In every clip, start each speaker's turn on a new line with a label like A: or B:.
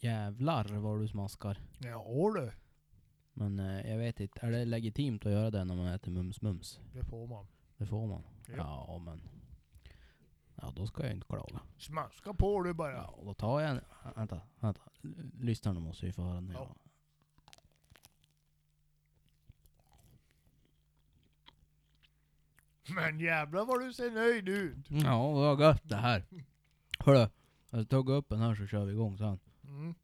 A: jävlar vad du smaskar.
B: Ja du,
A: Men eh, jag vet inte, är det legitimt att göra det när man äter mums-mums?
B: det får man.
A: Det får man.
B: Ja.
A: Ja, men... Ja, då ska jag inte klaga.
B: Smaska på du bara.
A: Ja, då tar jag en... Vänta, vänta. Lyssnarna måste ju få höra nu.
B: Ja. Men jävlar vad du ser nöjd ut.
A: Ja, vad gött det här. Hörru, jag tar upp den här så kör vi igång sen.
B: Mm.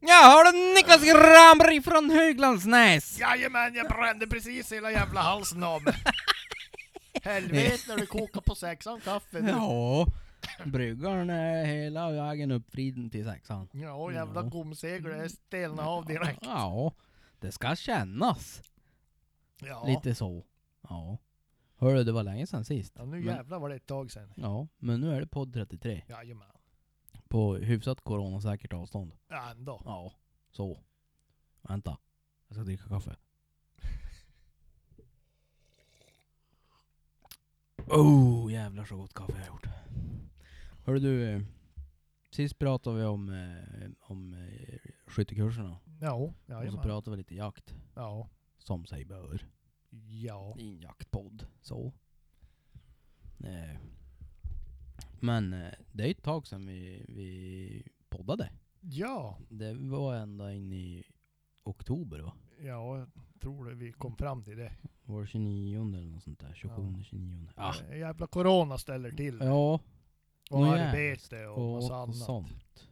A: Ja, har du Niklas Granberg från Höglandsnäs?
B: Jajamän, jag brände precis hela jävla halsen av mig. Helvete när du kokar på sexan kaffe. du.
A: Ja, bryggaren är hela vägen uppvriden till sexan.
B: Ja, jävla
A: Ja.
B: gomsegel, det stelnade av direkt.
A: Ja, det ska kännas.
B: Ja.
A: Lite så. Ja. Hörru, det var länge sedan sist.
B: ja, nu
A: Men-
B: jävlar var det ett tag sen.
A: Ja, men nu är det podd 33.
B: Jajamän.
A: På hyfsat coronasäkert avstånd.
B: Ja, ändå.
A: Ja, så. Vänta. Jag ska dricka kaffe. Oh, jävlar så gott kaffe jag har gjort. Hörru du, eh, sist pratade vi om, eh, om eh, skyttekurserna.
B: Ja,
A: Och så
B: jajamän.
A: pratade vi lite jakt,
B: Ja.
A: som sig bör.
B: Ja.
A: Det är en jaktpodd, så. Eh, Men eh, det är ju ett tag sedan vi, vi poddade.
B: Ja.
A: Det var ända in i oktober va?
B: Ja, jag tror det vi kom fram till det.
A: Var det 29 eller något sånt där? 27,
B: Ja.
A: 29? Ah.
B: Jävla corona ställer till det.
A: Ja,
B: Och
A: och jävlar.
B: arbete och,
A: och,
B: massa
A: och
B: annat.
A: sånt.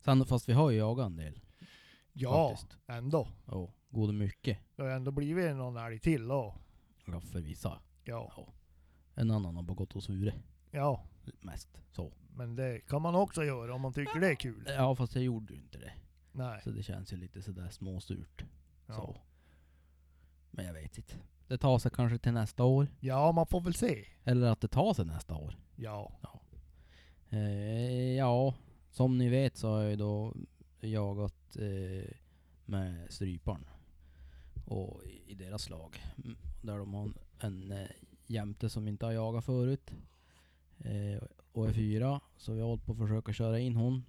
A: Sen, fast vi har ju jagat en del.
B: Ja,
A: faktiskt.
B: ändå.
A: Ja, gode mycket.
B: Det har ändå blivit någon älg till då.
A: Ja, för vissa.
B: Ja.
A: En annan har bara gått och svurit.
B: ja,
A: Mest så.
B: men det kan man också göra om man tycker det är kul.
A: Ja, fast jag gjorde ju inte det.
B: Nej.
A: Så det känns ju lite sådär småsurt.
B: Ja.
A: Så. Men jag vet inte. Det tar sig kanske till nästa år.
B: ja, man får väl se.
A: Eller att det tar sig nästa år.
B: Ja.
A: Eh, ja, som ni vet så har jag ju då jagat eh, med stryparn. Och i, i deras slag. Mm, Där de har en, en eh, jämte som inte har jagat förut. Eh, och är fyra. Så vi har hållit på att försöka köra in hon.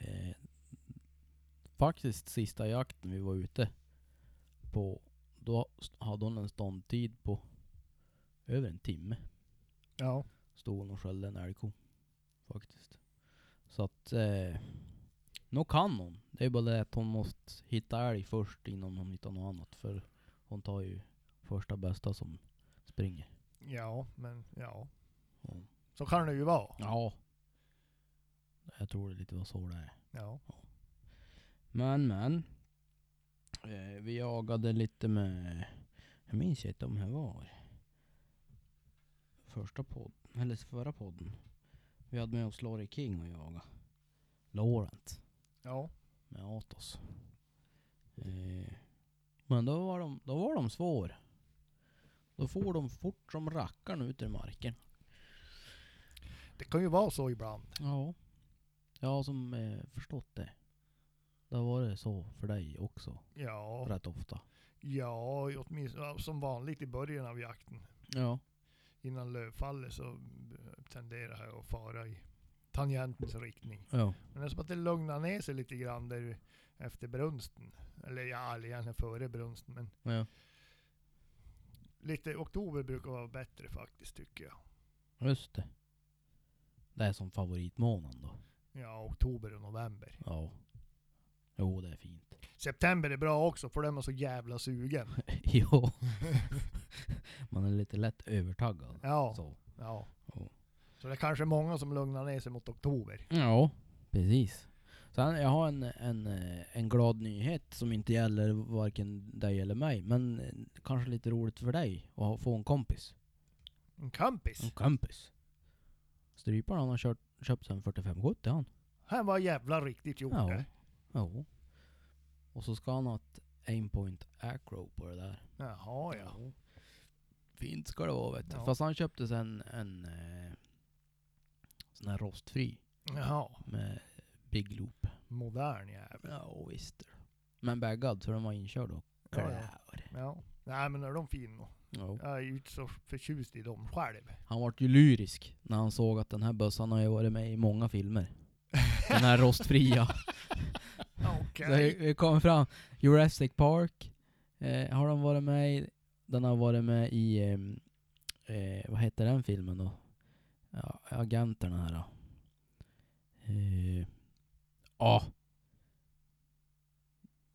A: Eh, faktiskt sista jakten vi var ute på. Då st- hade hon en ståndtid på över en timme
B: Ja.
A: stod hon och sköljde en älgko. Faktiskt. Så att, eh, nog kan hon. Det är bara det att hon måste hitta älg först innan hon hittar något annat. För hon tar ju första bästa som springer.
B: Ja, men ja.
A: Och,
B: Så kan det ju vara.
A: ja. Jag tror det lite var så det är.
B: Ja.
A: Men men. Eh, vi jagade lite med, jag minns inte om det var första podden, eller förra podden. Vi hade med oss Laurie King och jaga. Laurent
B: Ja.
A: med Atos. Eh, men då var, de, då var de svår. Då får de fort som rackarn ut ur marken.
B: Det kan ju vara så ibland.
A: Ja. Jag har som eh, förstått det. Det har varit så för dig också,
B: Ja.
A: rätt ofta.
B: Ja, åtminstone ja, som vanligt i början av jakten.
A: Ja.
B: Innan lövfallet så eh, tenderar jag att fara i tangentens riktning.
A: Ja.
B: Men det är som att det lugnar ner sig lite grann där efter brunsten. Eller ja, eller egentligen före brunsten. Men
A: Ja.
B: lite oktober brukar vara bättre faktiskt tycker jag.
A: Just det. Det är som favoritmånaden då.
B: Ja, oktober och november.
A: Ja. Jo, det är fint.
B: September är bra också för den var så jävla sugen.
A: jo. Man är lite lätt övertaggad.
B: Ja,
A: Så.
B: ja.
A: Ja.
B: Så det är kanske många som lugnar ner sig mot oktober.
A: ja, precis. Sen, jag har en, en, eh, en glad nyhet som inte gäller varken dig eller mig. Men eh, kanske lite roligt för dig att ha- få en kompis.
B: En kompis.
A: En kompis. Stryparen han har kört, köpt sig en 4570 han.
B: Han var jävla riktigt gjort
A: Ja.
B: det.
A: Jo. Och så ska han ha ett aimpoint acro på det där.
B: Jaha ja.
A: Mm. Fint ska det vara vet du.
B: Ja.
A: Fast han köpte sig en, en eh, sån här rostfri
B: Jaha.
A: med Big Loop.
B: Modern jävel.
A: Ja, visst. Men baggad, för den var inkörd och
B: Ja,
A: klar.
B: ja. ja. Nej men är de fina?
A: Jo.
B: Jag är ju inte så förtjust i dem själv.
A: Han vart ju lyrisk när han såg att den här bössan har ju varit med i många filmer. Den här rostfria. Så
B: Okej.
A: det kom fram Jurassic Park eh, har de varit med i. Den har varit med i, ehm, eh, vad heter den filmen då? Ja, agenterna här då. Eh, ja.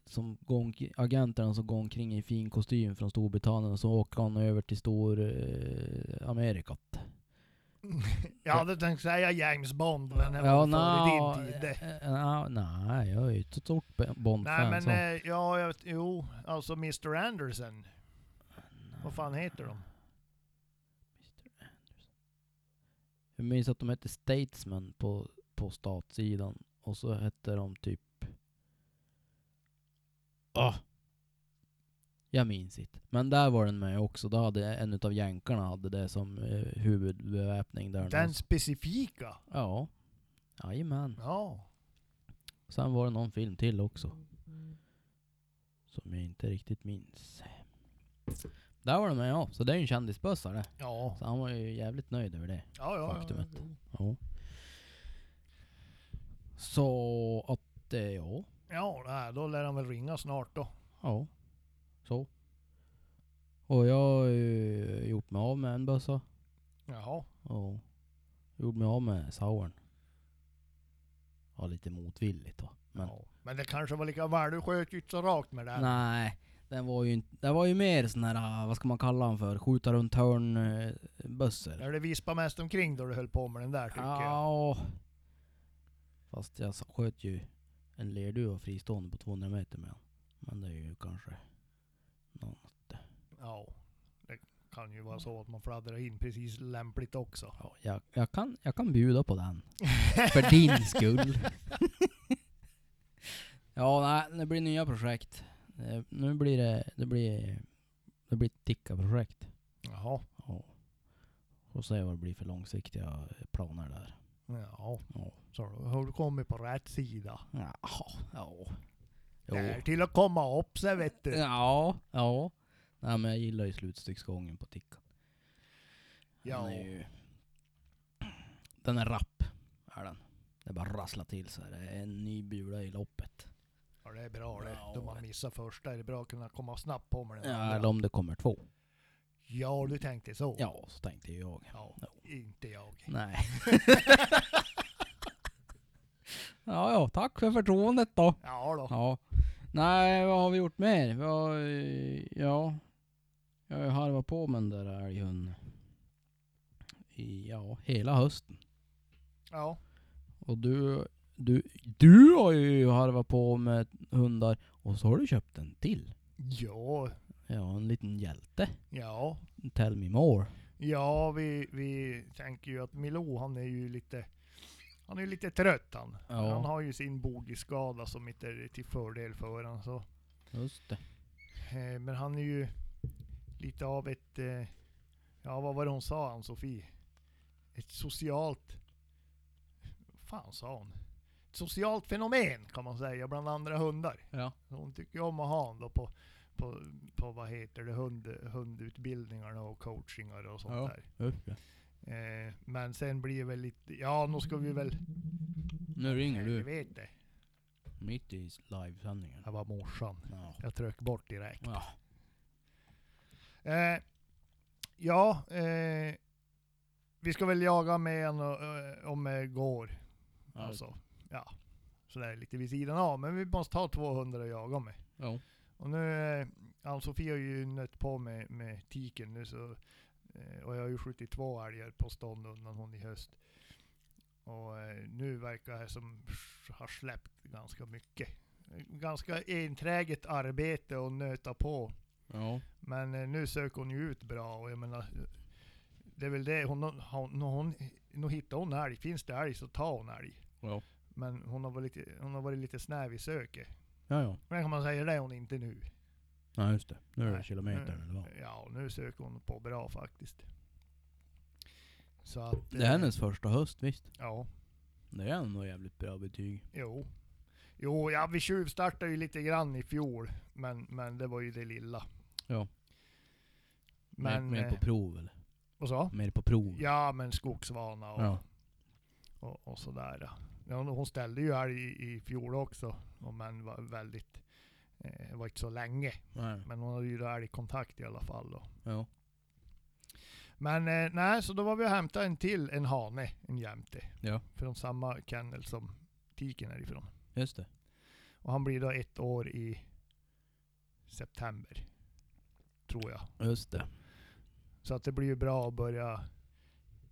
A: Som går omk- agenterna som går omkring i fin kostym från Storbritannien och så åker han över till Stor eh, Amerikat.
B: Jag hade tänkt säga James Bond, men det var
A: Ja,
B: före
A: nå,
B: din tid. det.
A: eh, eh, nå, Nej, jag är ju inte ett stort Be-
B: Nej
A: Bond-fan.
B: men
A: så.
B: eh, ja, jag, vet- jo, alltså Mr Anderson. Vad fan heter de?
A: Jag minns att de hette Statesman på, på statssidan. Och så hette de typ... Ah! Jag minns inte. Men där var den med också. Då hade en utav jänkarna hade det som eh, huvudbeväpning där.
B: Den
A: någonstans.
B: specifika?
A: Ja. Jajamän.
B: Ja.
A: Sen var det någon film till också. Som jag inte riktigt minns. Där var de med ja. Så det är ju en kändisbössa det.
B: Ja.
A: Så han var ju jävligt nöjd över det.
B: Ja, ja.
A: Faktumet. Ja. Så att, eh, ja.
B: Ja, nej, då lär han väl ringa snart då.
A: Ja. Så. Och jag har ju gjort mig av med en bössa.
B: Jaha.
A: Och gjort mig av med Sauern. Ja, lite motvilligt då. Men
B: Ja. Men det kanske var lika väl, du sköt ju inte så rakt med den.
A: nej. Den var ju inte, den var ju mer sån här, vad ska man kalla den för? Skjuta runt hörn eh, bössor.
B: När det vispade mest omkring då du höll på med den där tycker jag.
A: Ja. Fast jag sköt ju en lerduva fristående på 200 meter med den. Men det är ju kanske någon
B: Ja. Det kan ju vara så att man fladdrar in precis lämpligt också.
A: Ja, jag, jag, kan, jag kan bjuda på den. För din skull. ja, nej, det blir nya projekt. Eh, Nu blir det, det blir, det blir ett Tikka-projekt.
B: Jaha.
A: Ja. Får se vad det blir för långsiktiga planer där.
B: Ja.
A: Ja.
B: Så då har du kommit på rätt sida.
A: Ja. Ja. Jo.
B: Det är till att komma upp sig vet du.
A: Ja. Ja. Nej men jag gillar ju slutstycksgången på Tikka.
B: Ja.
A: Den är ju... Den är rapp. Är den. Det bara rasslar till så här. Det är en ny bula i loppet.
B: ja det är bra det.
A: Ja.
B: Då man missar första är det bra att kunna komma snabbt på med den
A: Ja,
B: andra.
A: eller om det kommer två.
B: ja du tänkte så.
A: Ja, så tänkte ju jag.
B: Ja,
A: Ja.
B: Inte jag.
A: Nej. ja, ja, tack för förtroendet då.
B: Ja då.
A: Ja. Nej, vad har vi gjort mer? Vi har, eh, ja, jag har ju harvat på med den där älghunden. I, ja, hela hösten.
B: Ja.
A: Och du, du, du har ju harvat på med hundar. Och så har du köpt en till.
B: Ja.
A: Ja, en liten hjälte.
B: Ja.
A: Tell me more.
B: Ja, vi, vi tänker ju att Milou han är ju lite han är ju lite trött han.
A: Ja.
B: Han har ju sin bogiskada som inte är till fördel för honom. Så.
A: Just det.
B: Eh, men han är ju lite av ett, eh, ja vad var det hon sa Ann-Sofie? Ett socialt, fan sa hon? Ett socialt fenomen kan man säga bland andra hundar.
A: Ja.
B: Hon tycker ju om att ha honom då på, på, på vad heter det, hund, hundutbildningarna och coachingar och sånt
A: Ja.
B: där.
A: Upp, ja.
B: Eh, men sen blir det väl lite, ja nu ska vi väl...
A: Nu ringer du.
B: Helvete.
A: Mitt i livesändningen.
B: Det var morsan.
A: Ja.
B: Jag tryck bort direkt.
A: Ja.
B: Eh, ja, eh, vi ska väl jaga med en och, eh, om det går. Alltså, ja. Sådär lite vid sidan av. Men vi måste ha 200 att jaga med.
A: Ja.
B: Och nu, eh, Ann-Sofie har ju nött på med, med tiken nu så, eh, och jag har ju skjutit två älgar på stånd undan hon i höst. Och eh, nu verkar det som sh- har släppt ganska mycket. Ganska enträget arbete och nöta på.
A: Ja.
B: Men eh, nu söker hon ju ut bra och jag menar, det är väl det hon, hon, hon, nu hittar hon älg. Finns det älg så tar hon älg.
A: Ja.
B: Men hon har varit lite, hon har varit lite snäv i söket.
A: Ja, ja.
B: Men kan man säga det är hon inte nu.
A: Nej, just det. Nu är det
B: Nej, Mm.
A: kilometern
B: nu-
A: eller vad?
B: Ja, nu söker hon på bra faktiskt. Så att...
A: Det är
B: eh,
A: hennes första höst, visst.
B: Ja,
A: Det är ändå jävligt bra betyg.
B: jo. Jo, ja, vi tjuvstartade ju lite grann i fjol, men, men det var ju det lilla.
A: Ja.
B: Men,
A: mer, mer på
B: eh,
A: prov eller?
B: vad sa?
A: Mer på prov?
B: Ja, men skogsvana och,
A: Ja.
B: och, och sådär. ja. Ja, hon- hon ställde ju här i, i fjol också, och men var väldigt, eh, det var inte så länge.
A: Nej.
B: Men hon hade ju då älgkontakt i alla fall. Då.
A: Ja.
B: Men eh, nej, så då var vi och hämtade en till, en hane, en jämte.
A: Ja.
B: Från samma kennel som tiken är ifrån.
A: Just det.
B: Och han blir då ett år i september. Tror jag.
A: Just det.
B: Så att det blir ju bra att börja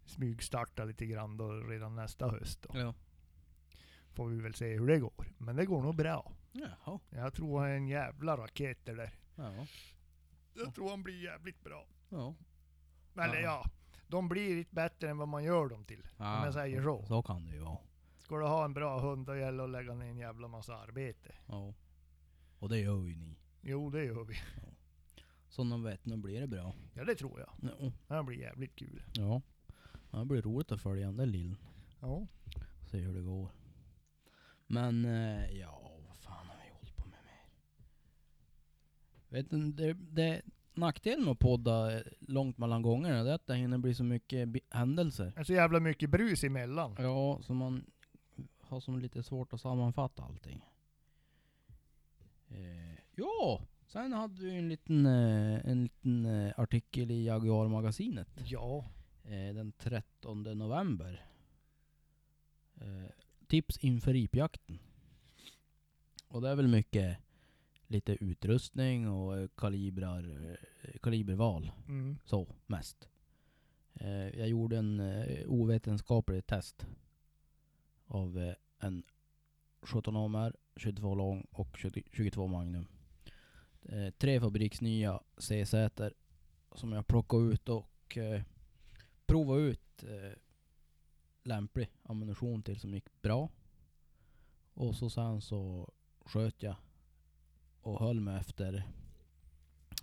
B: smygstarta lite grann då redan nästa höst. Då.
A: Ja.
B: Får vi väl se hur det går. Men det går nog bra.
A: Jaha.
B: Jag tror han är en jävla raket det där.
A: Ja.
B: Jag tror han blir jävligt bra.
A: Ja.
B: Eller
A: Ja.
B: ja, de blir inte bättre än vad man gör dem till. Om jag säger så.
A: Så kan det ju vara.
B: Ska du ha en bra hund då gäller det att lägga ner en jävla massa arbete.
A: Ja. Och det gör ju ni.
B: Jo, det gör vi.
A: Så de vet, nu blir det bra.
B: Ja, det tror jag.
A: Ja.
B: Det här blir jävligt kul.
A: ja. Det blir roligt att följa den där lillen.
B: Ja.
A: Se hur det går. Men eh, ja, vad fan har vi hållit på med mer? Vet du, det, det, nackdelen med att podda eh, långt mellan gångerna det är att det hinner bli så mycket bi- händelser.
B: Det är så jävla mycket brus emellan.
A: Ja, så man har som lite svårt att sammanfatta allting. Eh, ja, sen hade vi en liten, eh, en liten eh, artikel i Jaguar-magasinet
B: Ja.
A: eh, den 13 november. Eh, tips inför ripjakten. Och det är väl mycket lite utrustning och eh, kalibrar, eh, kaliberval
B: Mm.
A: så mest. Eh, jag gjorde en eh, ovetenskaplig test av eh, en 17 AMR, 22 lång och 20, 22 Magnum. Eh, tre fabriksnya CZ som jag plockade ut och eh, provade ut eh, lämplig ammunition till som gick bra. Och så sen så sköt jag och höll mig efter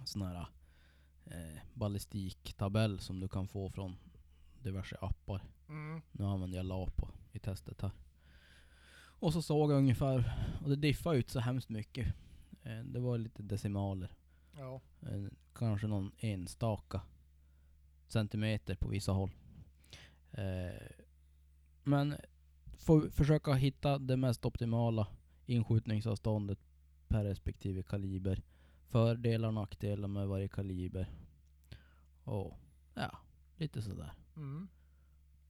A: sån här eh, ballistiktabell som du kan få från diverse appar.
B: Mm.
A: Nu använder jag Lapo i testet här. Och så såg jag ungefär, och det diffade ut så hemskt mycket. Eh, det var lite decimaler.
B: Ja.
A: Eh, kanske någon enstaka centimeter på vissa håll. Eh, men få, försöka hitta det mest optimala inskjutningsavståndet per respektive kaliber. Fördelar och nackdelar med varje kaliber. Och ja, lite sådär.
B: Mm.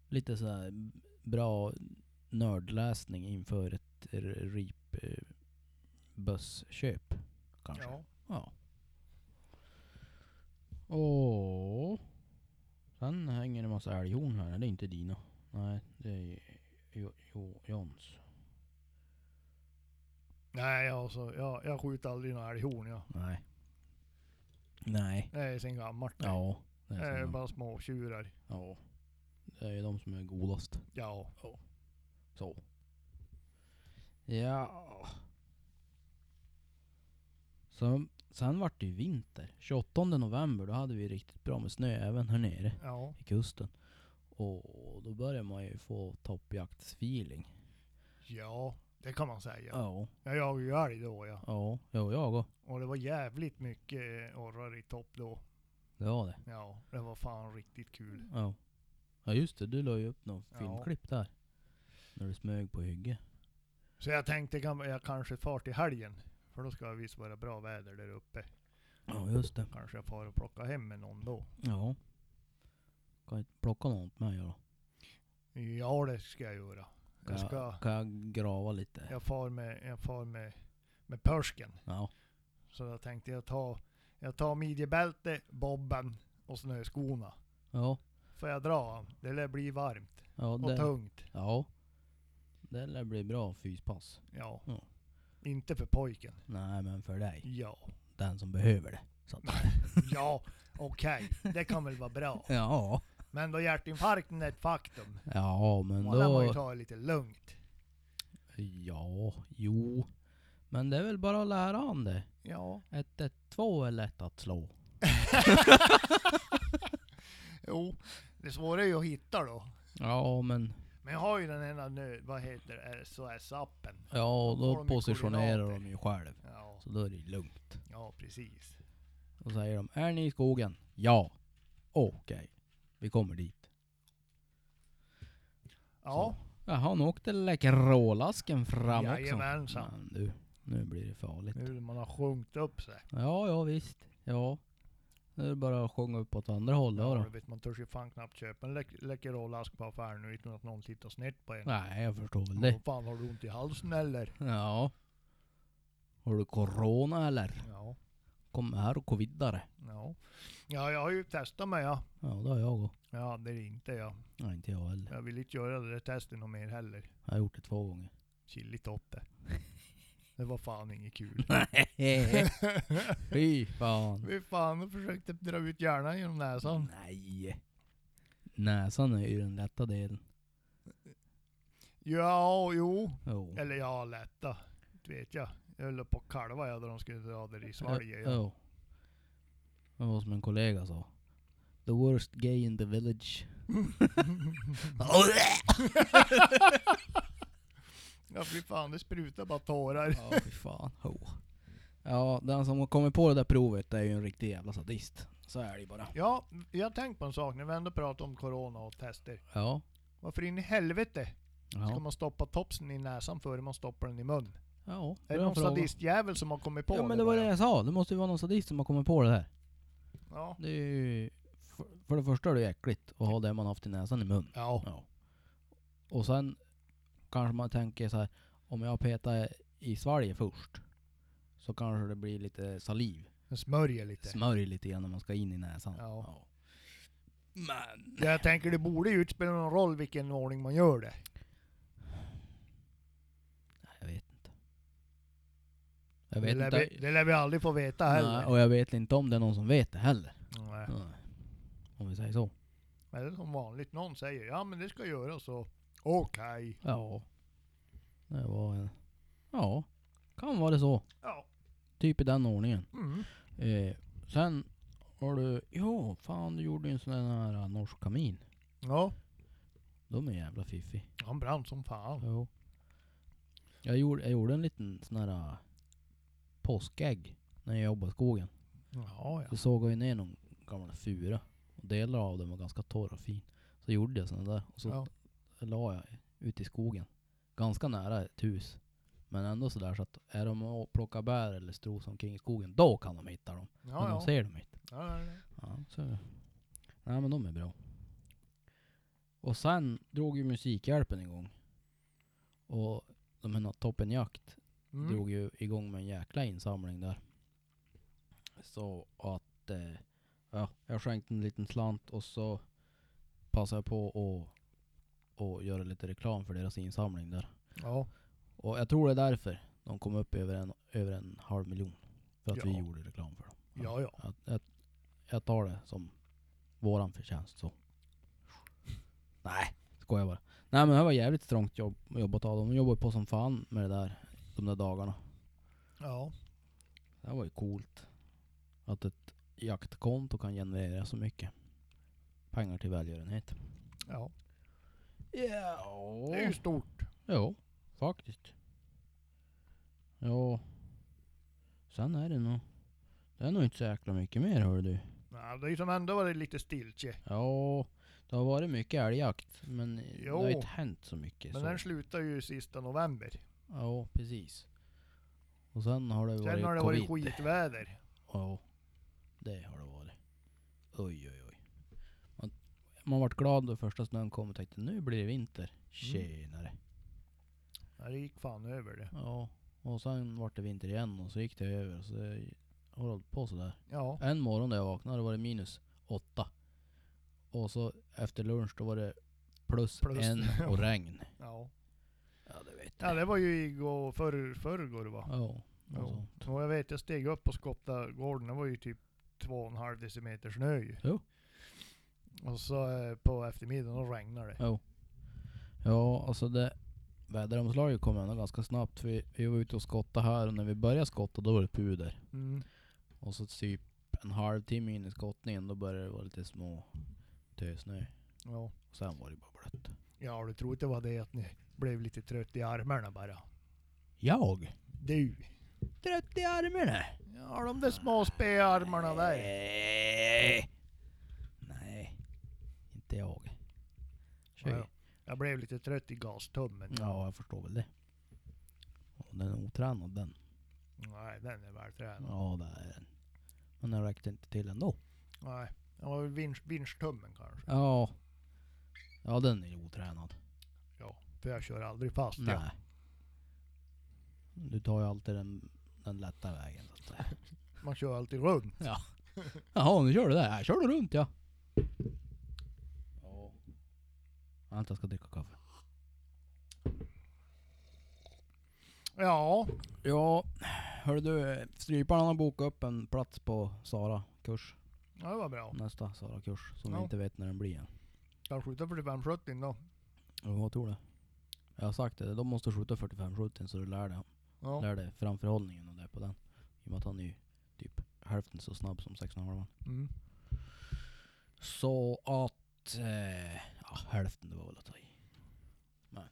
A: Lite sådär bra nördläsning inför ett r- rip eh, bössköp kanske.
B: Ja.
A: Ja. Åh. Sen hänger det massa älghorn här. Det är inte dina. Nej, det är ju- jo, jo, Johns.
B: Nej, alltså, jag, jag skjuter aldrig några älghorn. Ja.
A: Nej. Nej.
B: Det är sen gammalt.
A: Ja. Det
B: Det
A: är
B: är
A: såna.
B: bara små tjurar.
A: Ja. Det är ju de som är godast.
B: Ja.
A: Så. Ja. Så, sen vart det ju vinter. 28 november då hade vi riktigt bra med snö även här nere.
B: Ja.
A: i kusten. Och då börjar man ju få toppjaktsfeeling.
B: Ja. Det kan man säga.
A: Ja.
B: Jag jagade ju älg då ja.
A: Ja, jo jag och.
B: Och det var jävligt mycket eh, orrar i topp då.
A: Det var det.
B: Ja. Det var fan riktigt kul.
A: Ja. Ja just det, du la ju upp någon
B: Ja.
A: filmklipp där. När du smög på hygge.
B: Så jag tänkte kan jag kanske far till helgen. För då ska det visst vara bra väder där uppe.
A: Ja just det.
B: Kanske jag far och plockar hem med någon då.
A: Ja. Kan jag plocka något med mig då?
B: Ja det ska jag göra. Jag,
A: Kan
B: ska,
A: jag, kan jag grava lite?
B: jag far med, jag far med, med pörsken.
A: Ja.
B: Så jag tänkte jag tar, jag tar midjebälte, bobben och snöskorna.
A: Ja.
B: Får jag dra han? Det lär bli varmt
A: Ja
B: och
A: det,
B: tungt.
A: ja. det lär bli bra fyspass.
B: Ja.
A: Ja.
B: Inte för pojken.
A: Nej men för dig.
B: Ja.
A: Den som behöver det. Så att,
B: Ja, okej. Det kan väl vara bra.
A: ja.
B: Men då hjärtinfarkten är ett faktum.
A: Ja men
B: Och där
A: då.
B: man ju ta det lite lugnt.
A: Ja, jo. Men det är väl bara att lära han det.
B: Ja.
A: 112 är lätt att slå.
B: Jo. Det svåra är ju att hitta då.
A: Ja, men...
B: Men Men jag har ju den ena nu, vad heter SOS-appen.
A: Ja, och
B: Då får
A: då
B: de ju
A: positionerar de
B: koordinater.
A: ju själv.
B: Ja,
A: Så då är det lugnt.
B: ja, precis.
A: Då säger de, är ni i skogen? Ja. Okej, vi kommer dit. Så.
B: Ja,
A: Jaha, nu åkte läckerålasken fram också.
B: Jajamensan.
A: Men du, nu blir det farligt.
B: nu när man har sjunkit upp sig.
A: Ja, ja visst. Ja. Nu är det bara att sjunga upp åt andra hållet
B: Ja,
A: då.
B: du vet, man törs ju fan knappt köpa en läck- Läkerol-ask på affären nu utan att någon tittar snett på en.
A: Nej, jag förstår väl
B: Vad
A: det.
B: fan, har du ont i halsen eller?
A: Ja. Har du corona eller?
B: Ja.
A: Kom här och covidare.
B: Ja, ja jag har ju testat mig ja.
A: Ja, det har jag också.
B: Ja, det är inte jag.
A: Nej, inte jag heller.
B: Jag vill inte göra det där testet något mer heller.
A: Jag har gjort det två gånger.
B: Chili toppe. Det var fan inget kul.
A: Fy fan.
B: Vi fan jag försökte dra ut hjärnan genom näsan.
A: Nej. Näsan är ju den lätta delen.
B: Ja, jo.
A: Jo.
B: Eller ja, lätta. Det vet jag. Jag höll på att kalva jag då de skulle dra det i svalget. Ja.
A: Jo. Det var som en kollega sa. The worst gay in the village.
B: ja, fy fan det sprutar bara tårar.
A: Ja, fy fan. Ho. Ja, den som har kommit på det där provet är ju en riktig jävla sadist. Så är det ju bara.
B: Ja, jag har tänkt på en sak när vi ändå pratar om corona och tester.
A: Ja.
B: Varför in i helvete ska
A: Ja.
B: man stoppa topsen i näsan före man stoppar den i mun?
A: ja
B: Är det
A: bra
B: någon
A: fråga.
B: sadistjävel som har kommit på
A: Ja men det var
B: bara?
A: det jag sa. Det måste ju vara någon sadist som har kommit på det här.
B: Ja.
A: Det är ju... För, för det första är det ju äckligt att ha det man haft i näsan i mun.
B: Ja.
A: Ja. Och sen kanske man tänker så här. Om jag petar i svalget först. Så kanske det blir lite saliv.
B: Den smörjer lite.
A: Smörj lite grann när man ska in i näsan.
B: Ja.
A: Men...
B: Ja, Jag tänker det borde ju inte spela någon roll vilken ordning man gör det.
A: Nej, Jag vet inte. Jag
B: det,
A: vet
B: lär
A: inte.
B: Vi, det lär vi aldrig få veta
A: Nej,
B: heller.
A: och jag vet inte om det är någon som vet det heller.
B: Nej.
A: Nej. Om vi säger så.
B: Men det är som vanligt, någon säger ja men det ska göras så. Okej.
A: Ja. Det var en... Ja. Kan vara det så.
B: Ja.
A: Typ i den ordningen.
B: Mm.
A: Eh, sen har du... Ja, fan du gjorde ju en sån här eh, norsk kamin.
B: Ja.
A: De är jävla fiffiga.
B: Han brann som fan.
A: Jo. Jag gjorde, jag gjorde en liten sån här äh, påskägg när jag jobbade i skogen.
B: Ja, ja.
A: Så såg jag ju ner någon gammal fura. Och delar av den var ganska torr och fin. Så gjorde jag sådana där. Och så
B: ja.
A: la jag ute i skogen. Ganska nära ett hus. Men ändå sådär så att är de och plockar bär eller stros omkring i skogen, då kan de hitta dem. men
B: Ja,
A: de
B: ja.
A: ser dem inte.
B: ja, ja, ja.
A: Ja, så. Nej men de är bra. Och sen drog ju Musikhjälpen igång. Och de här Toppenjakt
B: Mm.
A: drog ju igång med en jäkla insamling där. Så att, eh, ja, jag skänkte en liten slant och så passade jag på att och göra lite reklam för deras insamling där.
B: ja.
A: Och jag tror det är därför de kom upp över en, över en halv miljon. För att vi
B: Ja.
A: gjorde reklam för dem.
B: Ja, ja.
A: Jag, jag, jag tar det som våran förtjänst så. Nej, skojar bara. Nej men det här var jävligt strångt jobb, jobbat av dem. De jobbade på som fan med det där, de där dagarna.
B: Ja.
A: Det här var ju coolt. Att ett jaktkonto kan generera så mycket pengar till välgörenhet.
B: ja.
A: Ja.
B: Det är ju stort.
A: Jo, faktiskt. Ja. Sen är det nog... Det är nog inte så jäkla mycket mer hör du.
B: Ja, det är ju som ändå varit lite stiltje.
A: Ja, det har varit mycket älgjakt. Men det har
B: Jo.
A: inte hänt så mycket.
B: Men
A: så.
B: den slutar ju sista november.
A: Ja, precis. Och sen har det varit
B: Sen har det
A: covid.
B: varit skitväder.
A: Ja, det har det varit. Oj, oj, oj. Man, man vart glad då första snön kom och tänkte nu blir det vinter. Tjenare.
B: Ja, det gick fan över det.
A: Ja, och sen vart det vinter igen och så gick det över. Så det har hållit på sådär.
B: Ja.
A: En morgon när jag vaknade var det minus åtta. Och så efter lunch då var det plus,
B: Plus,
A: en
B: ja.
A: och regn.
B: Ja.
A: Ja, det vet
B: ja, det var ju igår, förr, förrgår det var.
A: Ja, och
B: Ja.
A: sånt.
B: Och jag vet, jag steg upp på Skottagården, det var ju typ två och en halv decimeter snö ju.
A: Jo.
B: Och så eh, på eftermiddagen, då regnade det.
A: Jo. Ja, alltså det väderomslaget kom ändå ganska snabbt. Vi, vi var ute och skottade här och när vi började skotta då var det puder.
B: Mm.
A: Och så typ en halvtimme in i skottningen då började det vara lite små tösnö.
B: Ja.
A: Och sen var det bara blött.
B: Ja, du tror inte det var det att ni blev lite trött i armarna bara?
A: Jag?
B: Du!
A: Trött i armarna?
B: Ja, de där små spearmarna där.
A: Nej. Nej. Inte jag. Tjej.
B: Ja, Jag blev lite trött i gastummen.
A: Ja, jag förstår väl det. Och den är otränad den.
B: Nej, den är vältränad.
A: Ja, det är den. Men den räckte inte till ändå.
B: Nej, det var väl vinsch, vinschtummen kanske.
A: Ja. Ja, den är otränad.
B: För jag kör aldrig fast.
A: Nej.
B: jag.
A: Du tar ju alltid den, den lätta vägen. Så att säga.
B: Man kör alltid runt.
A: Jaha, nu kör du där. Här kör du runt ja. Ja. Vänta, jag ska dricka kaffe.
B: Ja,
A: Ja, hörru du. Stryparen har bokat upp en plats på Sara-kurs.
B: ja, det var bra.
A: Nästa Sara-kurs. Som
B: Ja.
A: vi inte vet när den blir än.
B: Kan skjuta 45-70 typ då.
A: Jo, jag tror det. Jag har sagt det. De måste skjuta 45-70 så du lär dig,
B: Ja.
A: lär dig framförhållningen och det på den. I och med att han är ju typ hälften så snabb som 16,5.
B: Mm.
A: Så att... Eh, ja, hälften det var väl att ta i. Men.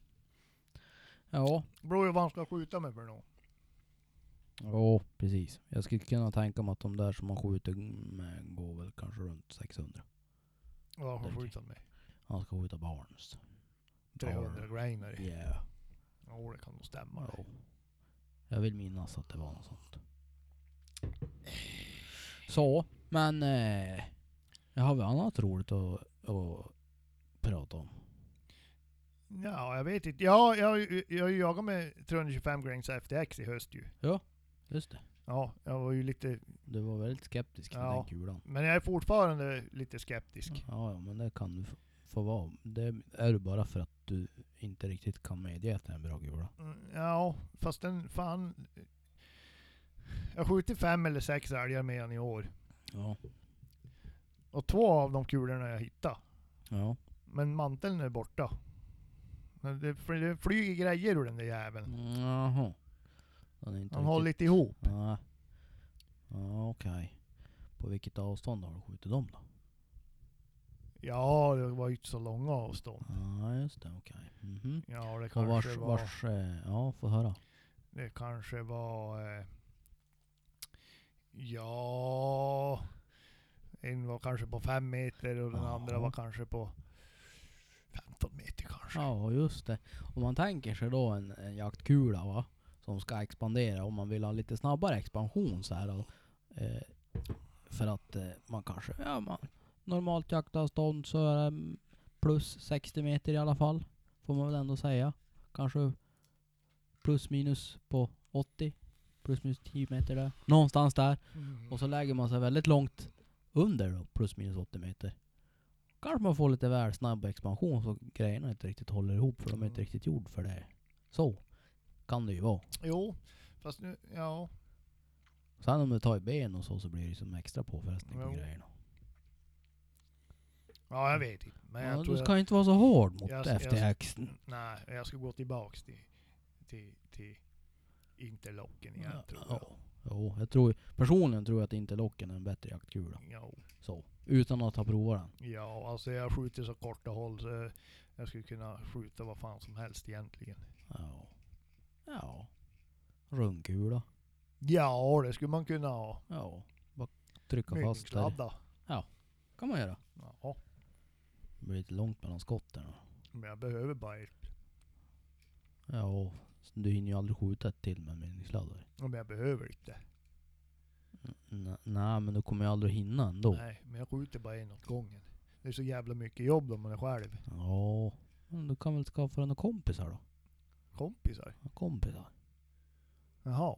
A: Ja.
B: Beror ju vad han ska skjuta med för något.
A: Ja, precis. Jag skulle kunna tänka mig att de där som man skjuter med går väl kanske runt 600.
B: Vad har han
A: Okej.
B: skjutit med?
A: Han ska skjuta Barnes.
B: 300 grejer.
A: Yeah.
B: Ja, det kan nog stämma.
A: Ja. Jag vill minnas att det var något sånt. Så, men... Eh, jag har väl annat roligt att, att prata om.
B: Ja, jag vet inte. Ja, jag, jag jagade med 325 grains FTX i höst ju.
A: Just det.
B: Ja, jag var ju lite...
A: Du var väldigt skeptisk till
B: Ja.
A: den kulan.
B: Men jag är fortfarande lite skeptisk.
A: Ja, ja, men det kan du f- få vara. Det är du bara för att du inte riktigt kan medge att det är en bra kula.
B: Mm, Ja, fast den fan... Jag har skjutit fem eller sex älgar med den i år.
A: Ja.
B: Och två av de kulorna jag hittade.
A: Ja.
B: Men manteln är borta. Men Det, fly- det flyger grejer ur den där jäveln.
A: Jaha. Den är inte
B: Han
A: Mm, riktigt-
B: håller lite ihop.
A: Ja. Ja, okej. På vilket avstånd har du skjutit dem då?
B: Ja, det var ju inte så långa avstånd.
A: Ja, just det. Okej. Mhm.
B: Ja, det
A: Och
B: kanske
A: vars,
B: var...
A: vars, eh, ja få höra.
B: Det kanske var... Eh, ja... En var kanske på fem meter och den
A: Ja.
B: andra var kanske på 15 meter kanske.
A: Ja, just det. Om man tänker sig då en, en jaktkula va, som ska expandera, om man vill ha lite snabbare expansion så här. Eh, för att eh, man kanske, ja man, normalt jaktavstånd så är det mm, plus 60 meter i alla fall. Får man väl ändå säga. Kanske plus minus på 80. Plus minus 10 meter där. Någonstans där.
B: Mm.
A: Och så lägger man sig väldigt långt under då, plus minus 80 meter. Kanske man får lite väl snabb expansion så grejerna inte riktigt håller ihop för de är inte
B: Mm.
A: riktigt gjord för det. Så kan det ju vara.
B: Jo, fast nu... Ja.
A: Sen om du tar i ben och så så blir det ju som extra påfrestning på
B: Jo.
A: grejerna.
B: Ja, jag vet inte. Men
A: Ja,
B: jag
A: du
B: tror
A: ska
B: jag,
A: ju inte vara så hård mot
B: Jag ska- jag ska-
A: FTX.
B: Nej, jag ska gå tillbaks till... Till... till interlocken igen tror jag.
A: Ja, jo, jag tror, personligen tror jag att interlocken är en bättre jaktkula.
B: Ja.
A: Så, utan att ha provat den.
B: ja, alltså jag skjuter så korta håll så jag skulle kunna skjuta vad fan som helst egentligen.
A: Ja. Ja. Rundkula.
B: Ja, det skulle man kunna ha.
A: Ja. Bara trycka fast där.
B: Mynningsladda.
A: kan man göra.
B: Ja.
A: Det blir lite långt mellan skotten. då.
B: Men jag behöver bara ett.
A: Ja, och du hinner ju aldrig skjuta ett till med meningsladdare.
B: Ja, Men jag behöver inte.
A: N- Nej, men du kommer ju aldrig hinna ändå.
B: Nej, men jag skjuter bara en åt gången. Det är så jävla mycket jobb om man är själv.
A: Ja, men du kan väl skaffa dig några kompisar då?
B: Kompisar.
A: Några Kompisar.
B: Jaha.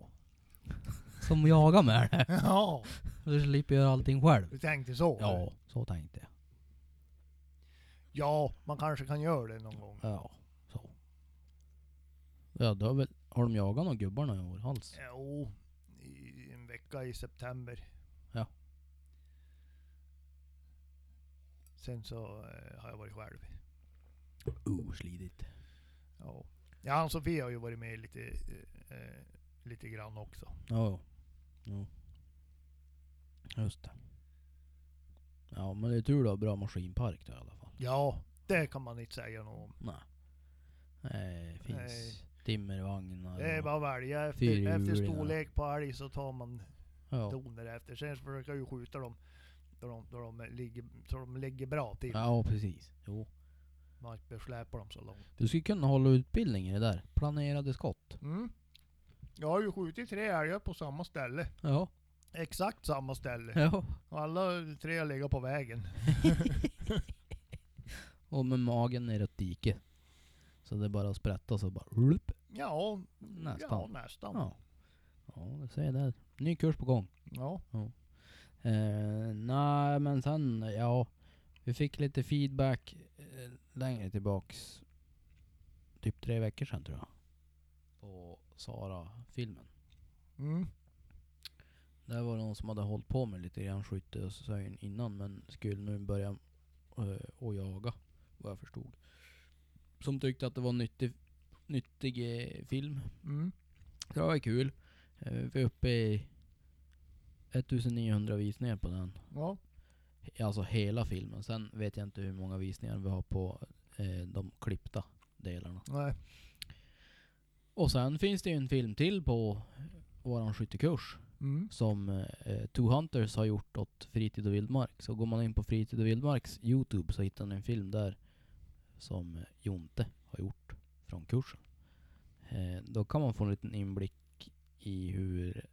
A: Som jagar med dig.
B: Ja,
A: Du slipper göra allting själv.
B: du tänkte så? eller?
A: Ja, så tänkte jag.
B: Ja, man kanske kan göra det någon gång.
A: Ja, så. Ja, då har, väl, har de jagat några gubbarna i år alls?
B: Eh, Jo, i en vecka i september.
A: Ja.
B: Sen så eh, har jag varit själv.
A: Oh, slidigt.
B: Ja. Ja, Ann-Sofie har ju varit med lite, eh, eh, lite grann också.
A: Ja, ja. Just det. Ja, men det är tur du har bra maskinpark då i alla fall.
B: Ja, Det kan man inte säga något om.
A: Nej. Det finns
B: Nej.
A: timmervagnar.
B: Det är
A: och-
B: bara att välja. Efter,
A: Fyrhjulingar.
B: efter storlek på älg så tar man
A: ja.
B: doner efter. Sen så försöker jag ju skjuta dem då de, då de ligger, så de ligger bra till.
A: ja, precis. Jo.
B: Man inte släpar dem så långt.
A: Du skulle kunna hålla utbildning i det där. Planerade skott.
B: Mm. Jag har ju skjutit tre älgar på samma ställe.
A: Ja.
B: Exakt samma ställe.
A: ja.
B: Och alla tre ligger på vägen.
A: Och med magen ner åt diket. Så det är bara att sprätta så bara... Lup.
B: Ja,
A: Nästan.
B: Ja, nästan. Ja.
A: Ja. Ja, det säger det. Ny kurs på gång. Eh, nej, men sen, ja. Vi fick lite feedback eh, längre tillbaks. Typ tre veckor sedan tror jag. På Sara-filmen.
B: Mm.
A: Där var det någon som hade hållit på med lite grann skytte och sögn innan men skulle nu börja eh, och jaga, vad jag förstod. Som tyckte att det var nyttig, nyttig eh, film.
B: Mm.
A: Det var kul. Eh, vi är uppe i 1900 visningar på den.
B: Ja.
A: Alltså hela filmen. Sen vet jag inte hur många visningar vi har på eh, de klippta delarna.
B: Nej.
A: Och sen finns det ju en film till på våran skyttekurs
B: Mm.
A: som eh, Two Hunters har gjort åt Fritid och Vildmark. Så går man in på Fritid och Vildmarks Youtube så hittar man en film där som eh, Jonte har gjort från kursen. Eh, då kan man få en liten inblick i hur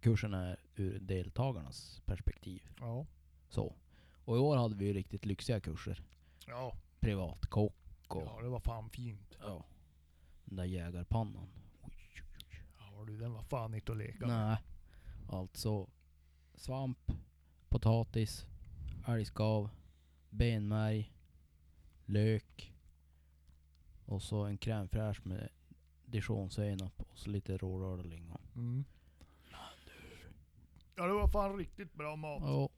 A: kursen är ur deltagarnas perspektiv.
B: Ja.
A: Så. Och i år hade vi ju riktigt lyxiga kurser.
B: Ja.
A: Privatkock och
B: ja, det var fan fint.
A: ja, den där jägarpannan.
B: Ja du, den var fan inte att leka med.
A: Nej. Alltså svamp, potatis, älgskav, benmärg, lök och så en crème fraîche med dijonsenap och så lite rårörda lingon.
B: Mm. Ja det var fan riktigt bra mat.
A: Ja.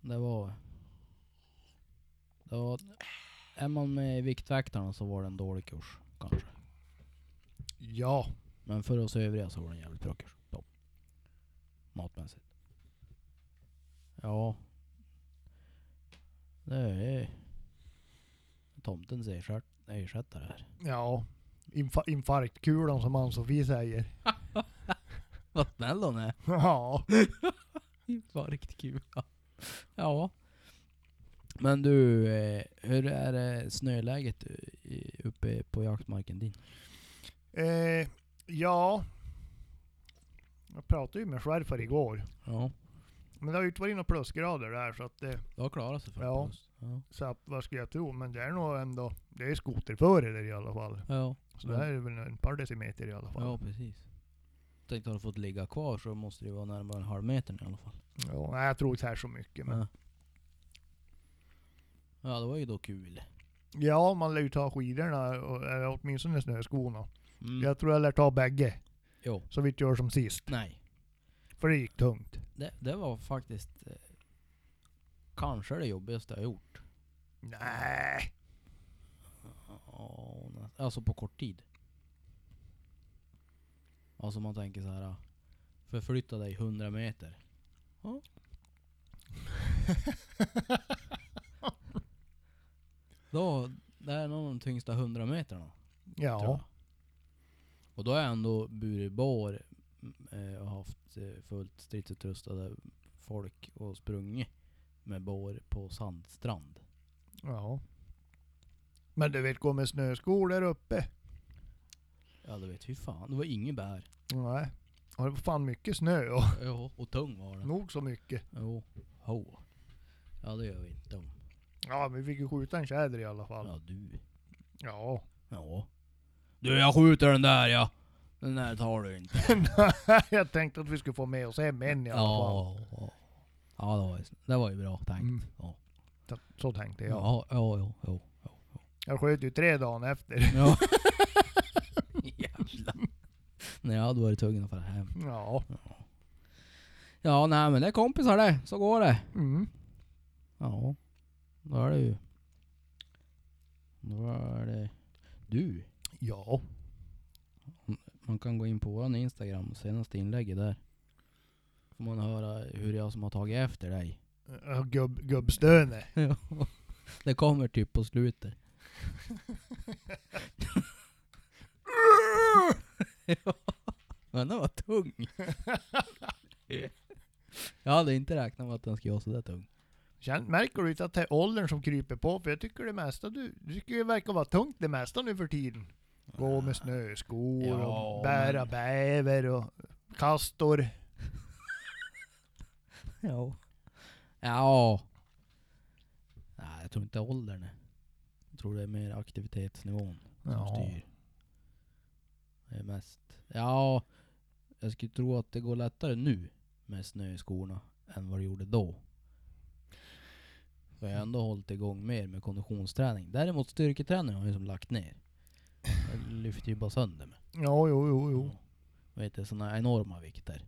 A: Det var... Det var... Är man med i Viktväktarna så var det en dålig kurs kanske.
B: Ja.
A: Men för oss övriga så var det en jävligt bra kurs. Då. Matmässigt. Ja. Det är... Tomtens ersätt- ersättare här.
B: Ja. Infa- infarktkulan som Ann-Sofie säger.
A: Vad snäll hon är.
B: ja.
A: Vad riktigt kul. Ja. ja. Men du, eh, hur är eh, snöläget i- uppe på jaktmarken din?
B: Eh, ja. Jag pratade ju med Schärfer igår.
A: Ja,
B: Men det har ju inte varit några plusgrader där så att eh, det,
A: det har klarat sig
B: för Ja. oss.
A: Ja.
B: så att, vad ska jag tro? Men det är nog ändå, det är skoterföre där i alla fall.
A: Ja.
B: Så det här är väl en par decimeter i alla fall.
A: ja, precis. Tänkte har du fått ligga kvar så måste det ju vara närmare en halv meter i alla fall.
B: Ja, nej, jag tror inte här så mycket. Men
A: Ja. ja, det var ju då kul.
B: ja, man lär ju ta skidorna, och, eller åtminstone snöskorna.
A: Mm.
B: Jag tror jag lär ta bägge,
A: Jo.
B: så vi inte gör som sist.
A: Nej,
B: För det gick tungt.
A: det, det var faktiskt eh, kanske det jobbigaste jag gjort.
B: Nej.
A: Ja, nä- Alltså på kort tid. Alltså man tänker så här. Förflytta dig 100 meter. Ja. Då, det är nog de tyngsta 100 metrarna. tror jag.
B: Ja.
A: Och då har jag ändå burit bår mm, eh, och haft eh, fullt stridsutrustade folk och sprungit med bår på sandstrand.
B: ja. Men du vet, gå med snöskor där uppe.
A: Ja du vet, hur fan. Det var inget bär.
B: Nej. Och det var fan mycket snö och
A: Ja, och tung var den.
B: nog så mycket.
A: Jo, ho. Ja det gör vi inte om.
B: Ja, men vi fick ju skjuta en tjäder i alla fall.
A: Ja du.
B: Ja.
A: Ja. Du jag skjuter den där ja. Den där tar du inte.
B: jag tänkte att vi skulle få med oss hem en i alla fall.
A: Ja. Ja, ja det, var ju, det var ju bra tänkt.
B: Mm.
A: Ja.
B: Så, så tänkte jag.
A: Ja, ja, ja, ja. ja.
B: Jag sköt ju tre dagar efter.
A: Ja. Jävlar. Nej, jag hade varit tvungen att fara hem.
B: Ja.
A: Ja, nej men det är kompisar det. Så går det.
B: Mm.
A: Ja. Då är det ju. Då är det... Du.
B: Ja.
A: Man kan gå in på våran Instagram, senaste inlägget där. Får man höra hur jag som har tagit efter dig.
B: Ja, Gubb, gubbstöne.
A: Ja. Det kommer typ på slutet. ja, men den var tung. Jag hade inte räknat med att den skulle vara sådär tung.
B: Känn, märker du inte att det är åldern som kryper på? För jag tycker det mesta du, du tycker det verkar vara tungt det mesta nu för tiden. Gå med snöskor
A: Ja,
B: och bära
A: men-
B: bäver och kastor.
A: Ja. Ja. Nej, jag tror inte åldern. är. Jag tror det är mer aktivitetsnivån som
B: Ja.
A: styr. Det är mest. Ja, jag skulle tro att det går lättare nu med snö i skorna än vad det gjorde då. Så jag har ändå hållit igång mer med konditionsträning. Däremot styrketräning har jag som lagt ner. Jag lyfter ju bara sönder mig.
B: Ja, jo, jo, jo.
A: Vet du, sådana enorma vikter.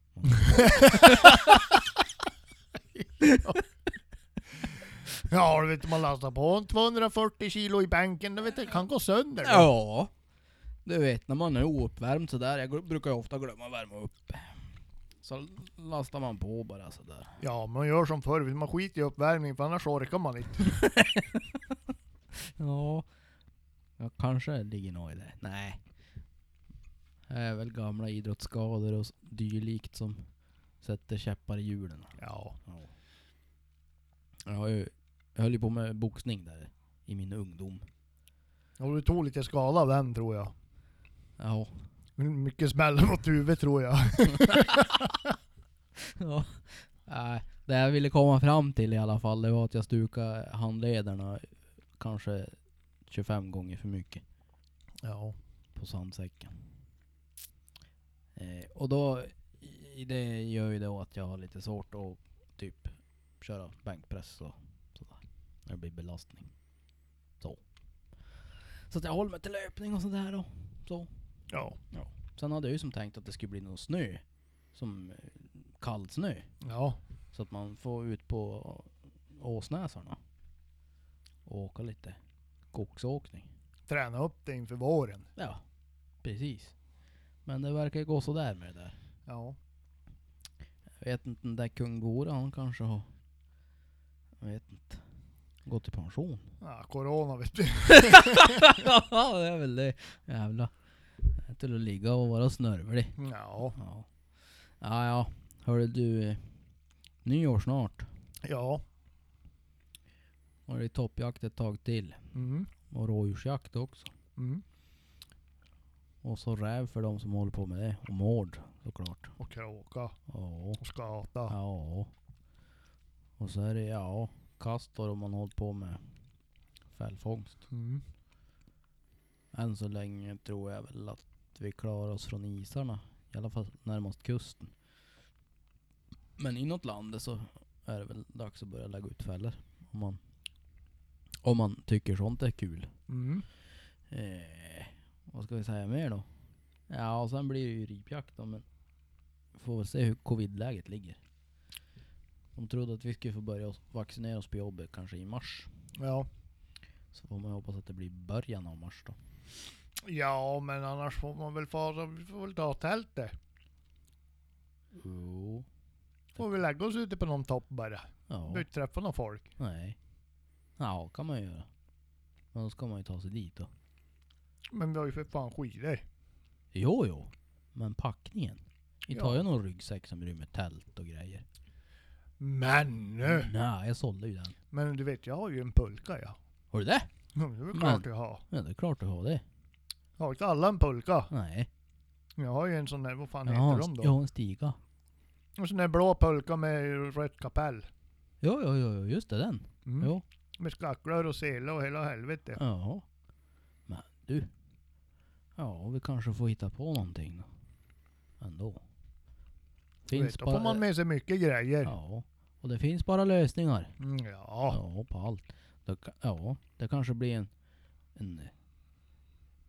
B: Ja, du vet man lastar på en 240 kilo i bänken, du vet det kan gå sönder. då.
A: Ja. Du vet när man är ouppvärmd sådär, jag gl- brukar ju ofta glömma att värma upp. Så lastar man på bara sådär.
B: ja, man gör som förr, man skiter i uppvärmning för annars orkar man inte.
A: Ja. ja kanske det ligger något i det. Nej. Det är väl gamla idrottsskador och s- dylikt som sätter käppar i hjulen.
B: Ja.
A: Ja. Jag, har ju, jag höll ju på med boxning där i min ungdom.
B: Och du tog lite skada av den tror jag.
A: Ja.
B: Mycket smällar mot huvudet tror jag.
A: Ja. Nej, det jag ville komma fram till i alla fall, det var att jag stukade handlederna kanske 25 gånger för mycket
B: Ja.
A: på sandsäcken. Eh, och då, i- det gör ju då att jag har lite svårt att typ köra bänkpress och sådär. När det blir belastning. Så. Så att jag håller mig till löpning och sådär då. Så.
B: Ja.
A: Sen hade jag ju som tänkt att det skulle bli någon snö. Som eh, kall snö.
B: Ja.
A: Så att man får ut på åsnäsarna. Och åka lite skogsåkning.
B: Träna upp det inför våren.
A: Ja, precis. Men det verkar gå sådär med det där.
B: Ja.
A: Jag vet inte, den där kung Bore, han kanske har... Jag vet inte. Gått i pension.
B: ja corona vet du.
A: ja, det är väl det. Jävla. Det är Till att ligga och vara snörvlig.
B: Ja.
A: Ja. Ja, ja. Hörde du. eh, Nyår snart.
B: Ja.
A: Och det är toppjakt ett tag till.
B: Mm.
A: Och rådjursjakt också.
B: Mm.
A: Och så räv för de som håller på med det. Och mård såklart.
B: Och kråka
A: Ja.
B: och skata.
A: Ja. Och så är det ja, kastor om man håller på med fällfångst.
B: Mm.
A: Än så länge tror jag väl att vi klarar oss från isarna. I alla fall närmast kusten. Men inåt landet så är det väl dags att börja lägga ut fällor. Om man, om man tycker sånt är kul.
B: Mm.
A: Eh, vad ska vi säga mer då? Ja, och sen blir det ju ripjakt då, men får väl se hur covid-läget ligger. De trodde att vi skulle få börja oss- vaccinera oss på jobbet kanske i mars.
B: Ja.
A: Så får man ju hoppas att det blir början av mars då.
B: Ja, men annars får man väl fara, vi får väl ta tältet.
A: Jo.
B: Får vi lägga oss ute på någon topp bara.
A: Ja.
B: Behöver inte träffa någon folk.
A: Nej. Ja, kan man ju göra. Men då ska man ju ta sig dit då.
B: Men vi har ju för fan skidor.
A: Jo, jo. Men packningen. Vi tar
B: Ja.
A: ju någon ryggsäck som rymmer tält och grejer.
B: Men nu!
A: Nej, jag sålde ju den.
B: Men du vet, jag har ju en pulka ja.
A: Har du det?
B: Ja, men Det är väl
A: Men-
B: klart jag har.
A: Ja, det är klart du har det.
B: Har inte alla en pulka?
A: Nej.
B: Jag har ju en sån där, vad fan
A: jag, har
B: heter
A: en
B: de
A: st-
B: då?
A: jag har en stiga.
B: En sån där blå pulka med rött kapell.
A: Ja, ja, ja, ja, just det den.
B: Mm.
A: Jo.
B: Med skacklor och sele och hela helvete.
A: Ja. Men du. Ja, vi kanske får hitta på någonting då. Ändå.
B: Du vet, då får man med sig mycket grejer. Ja.
A: Ja. Och det finns bara lösningar.
B: Mm, ja.
A: Ja, på allt. Det, ka- ja, det kanske blir en... en eh,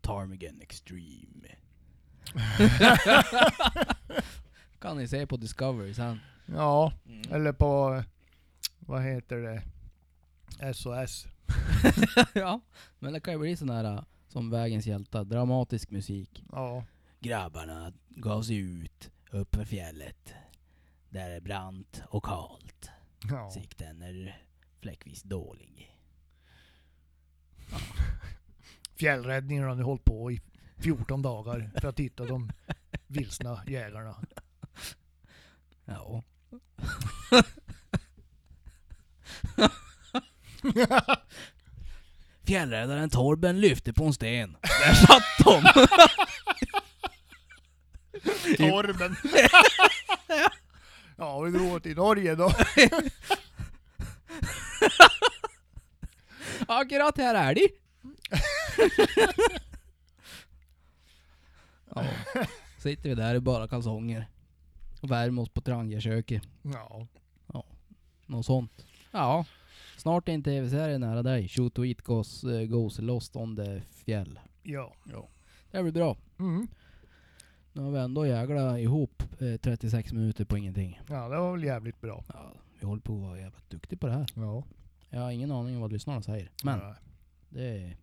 A: Ptarmigan Extreme. kan ni se på Discovery sen.
B: ja. Eller på, eh, vad heter det? SOS.
A: ja. Men det kan ju bli sån här eh, som Vägens hjältar. Dramatisk musik.
B: Ja.
A: Grabbarna gav sig ut upp för fjället. Där är brant och kalt.
B: ja.
A: Sikten är fläckvis dålig.
B: Fjällräddningen har nu hållit på i 14 dagar för att hitta de vilsna jägarna.
A: Ja. Fjällräddaren Torben lyfte på en sten. Där satt de! Typ.
B: Torben. ja, vi drog åt i Norge då.
A: Akkurat här är de! ja. Sitter vi där i bara kalsonger. Och värmer oss på Trangiaköket.
B: Ja.
A: Något sånt. Ja. Snart är en tv-serie nära dig. Shoot to eat goes, eh, goes lost on the fjäll.
B: Ja.
A: Det blir bra.
B: Mm.
A: Nu har vi ändå jäglat ihop eh, 36 minuter på ingenting.
B: ja, det var väl jävligt bra.
A: Ja, vi håller på att vara jävligt duktiga på det här.
B: Ja.
A: Jag har ingen aning om vad lyssnarna säger. Men det...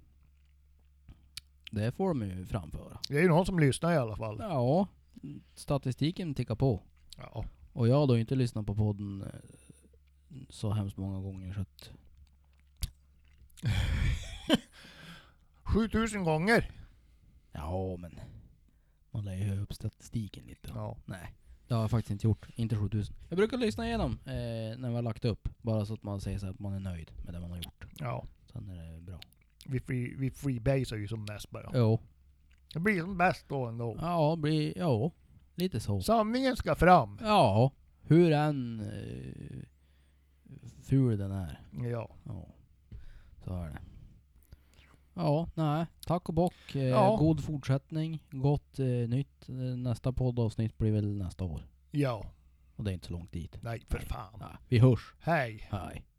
A: Det får de ju framföra.
B: Det är ju någon som lyssnar i alla fall.
A: Ja, statistiken tickar på.
B: Ja.
A: Och jag har då inte lyssnat på podden eh, så hemskt många gånger så att...
B: 7000 gånger.
A: Ja, men... Man lär ju höja upp statistiken lite.
B: Ja.
A: Nej, det har jag faktiskt inte gjort. Inte 7000. Jag brukar lyssna igenom eh, när vi har lagt upp. Bara så att man säger så här att man är nöjd med det man har gjort.
B: ja.
A: Sen är det bra.
B: Vi, free, vi freebasar ju som mest bara.
A: Jo.
B: Det blir som bäst då ändå.
A: Ja, bli, ja lite så.
B: Sanningen ska fram.
A: Ja, hur än eh, ful den är.
B: Ja.
A: Ja, så är det. Ja, nej. Tack och bock. Eh,
B: Ja.
A: God fortsättning. Gott eh, nytt. Eh, Nästa poddavsnitt blir väl nästa år.
B: Ja.
A: Och det är inte så långt dit.
B: Nej, för fan.
A: Nej, vi hörs.
B: Hej.
A: Hej.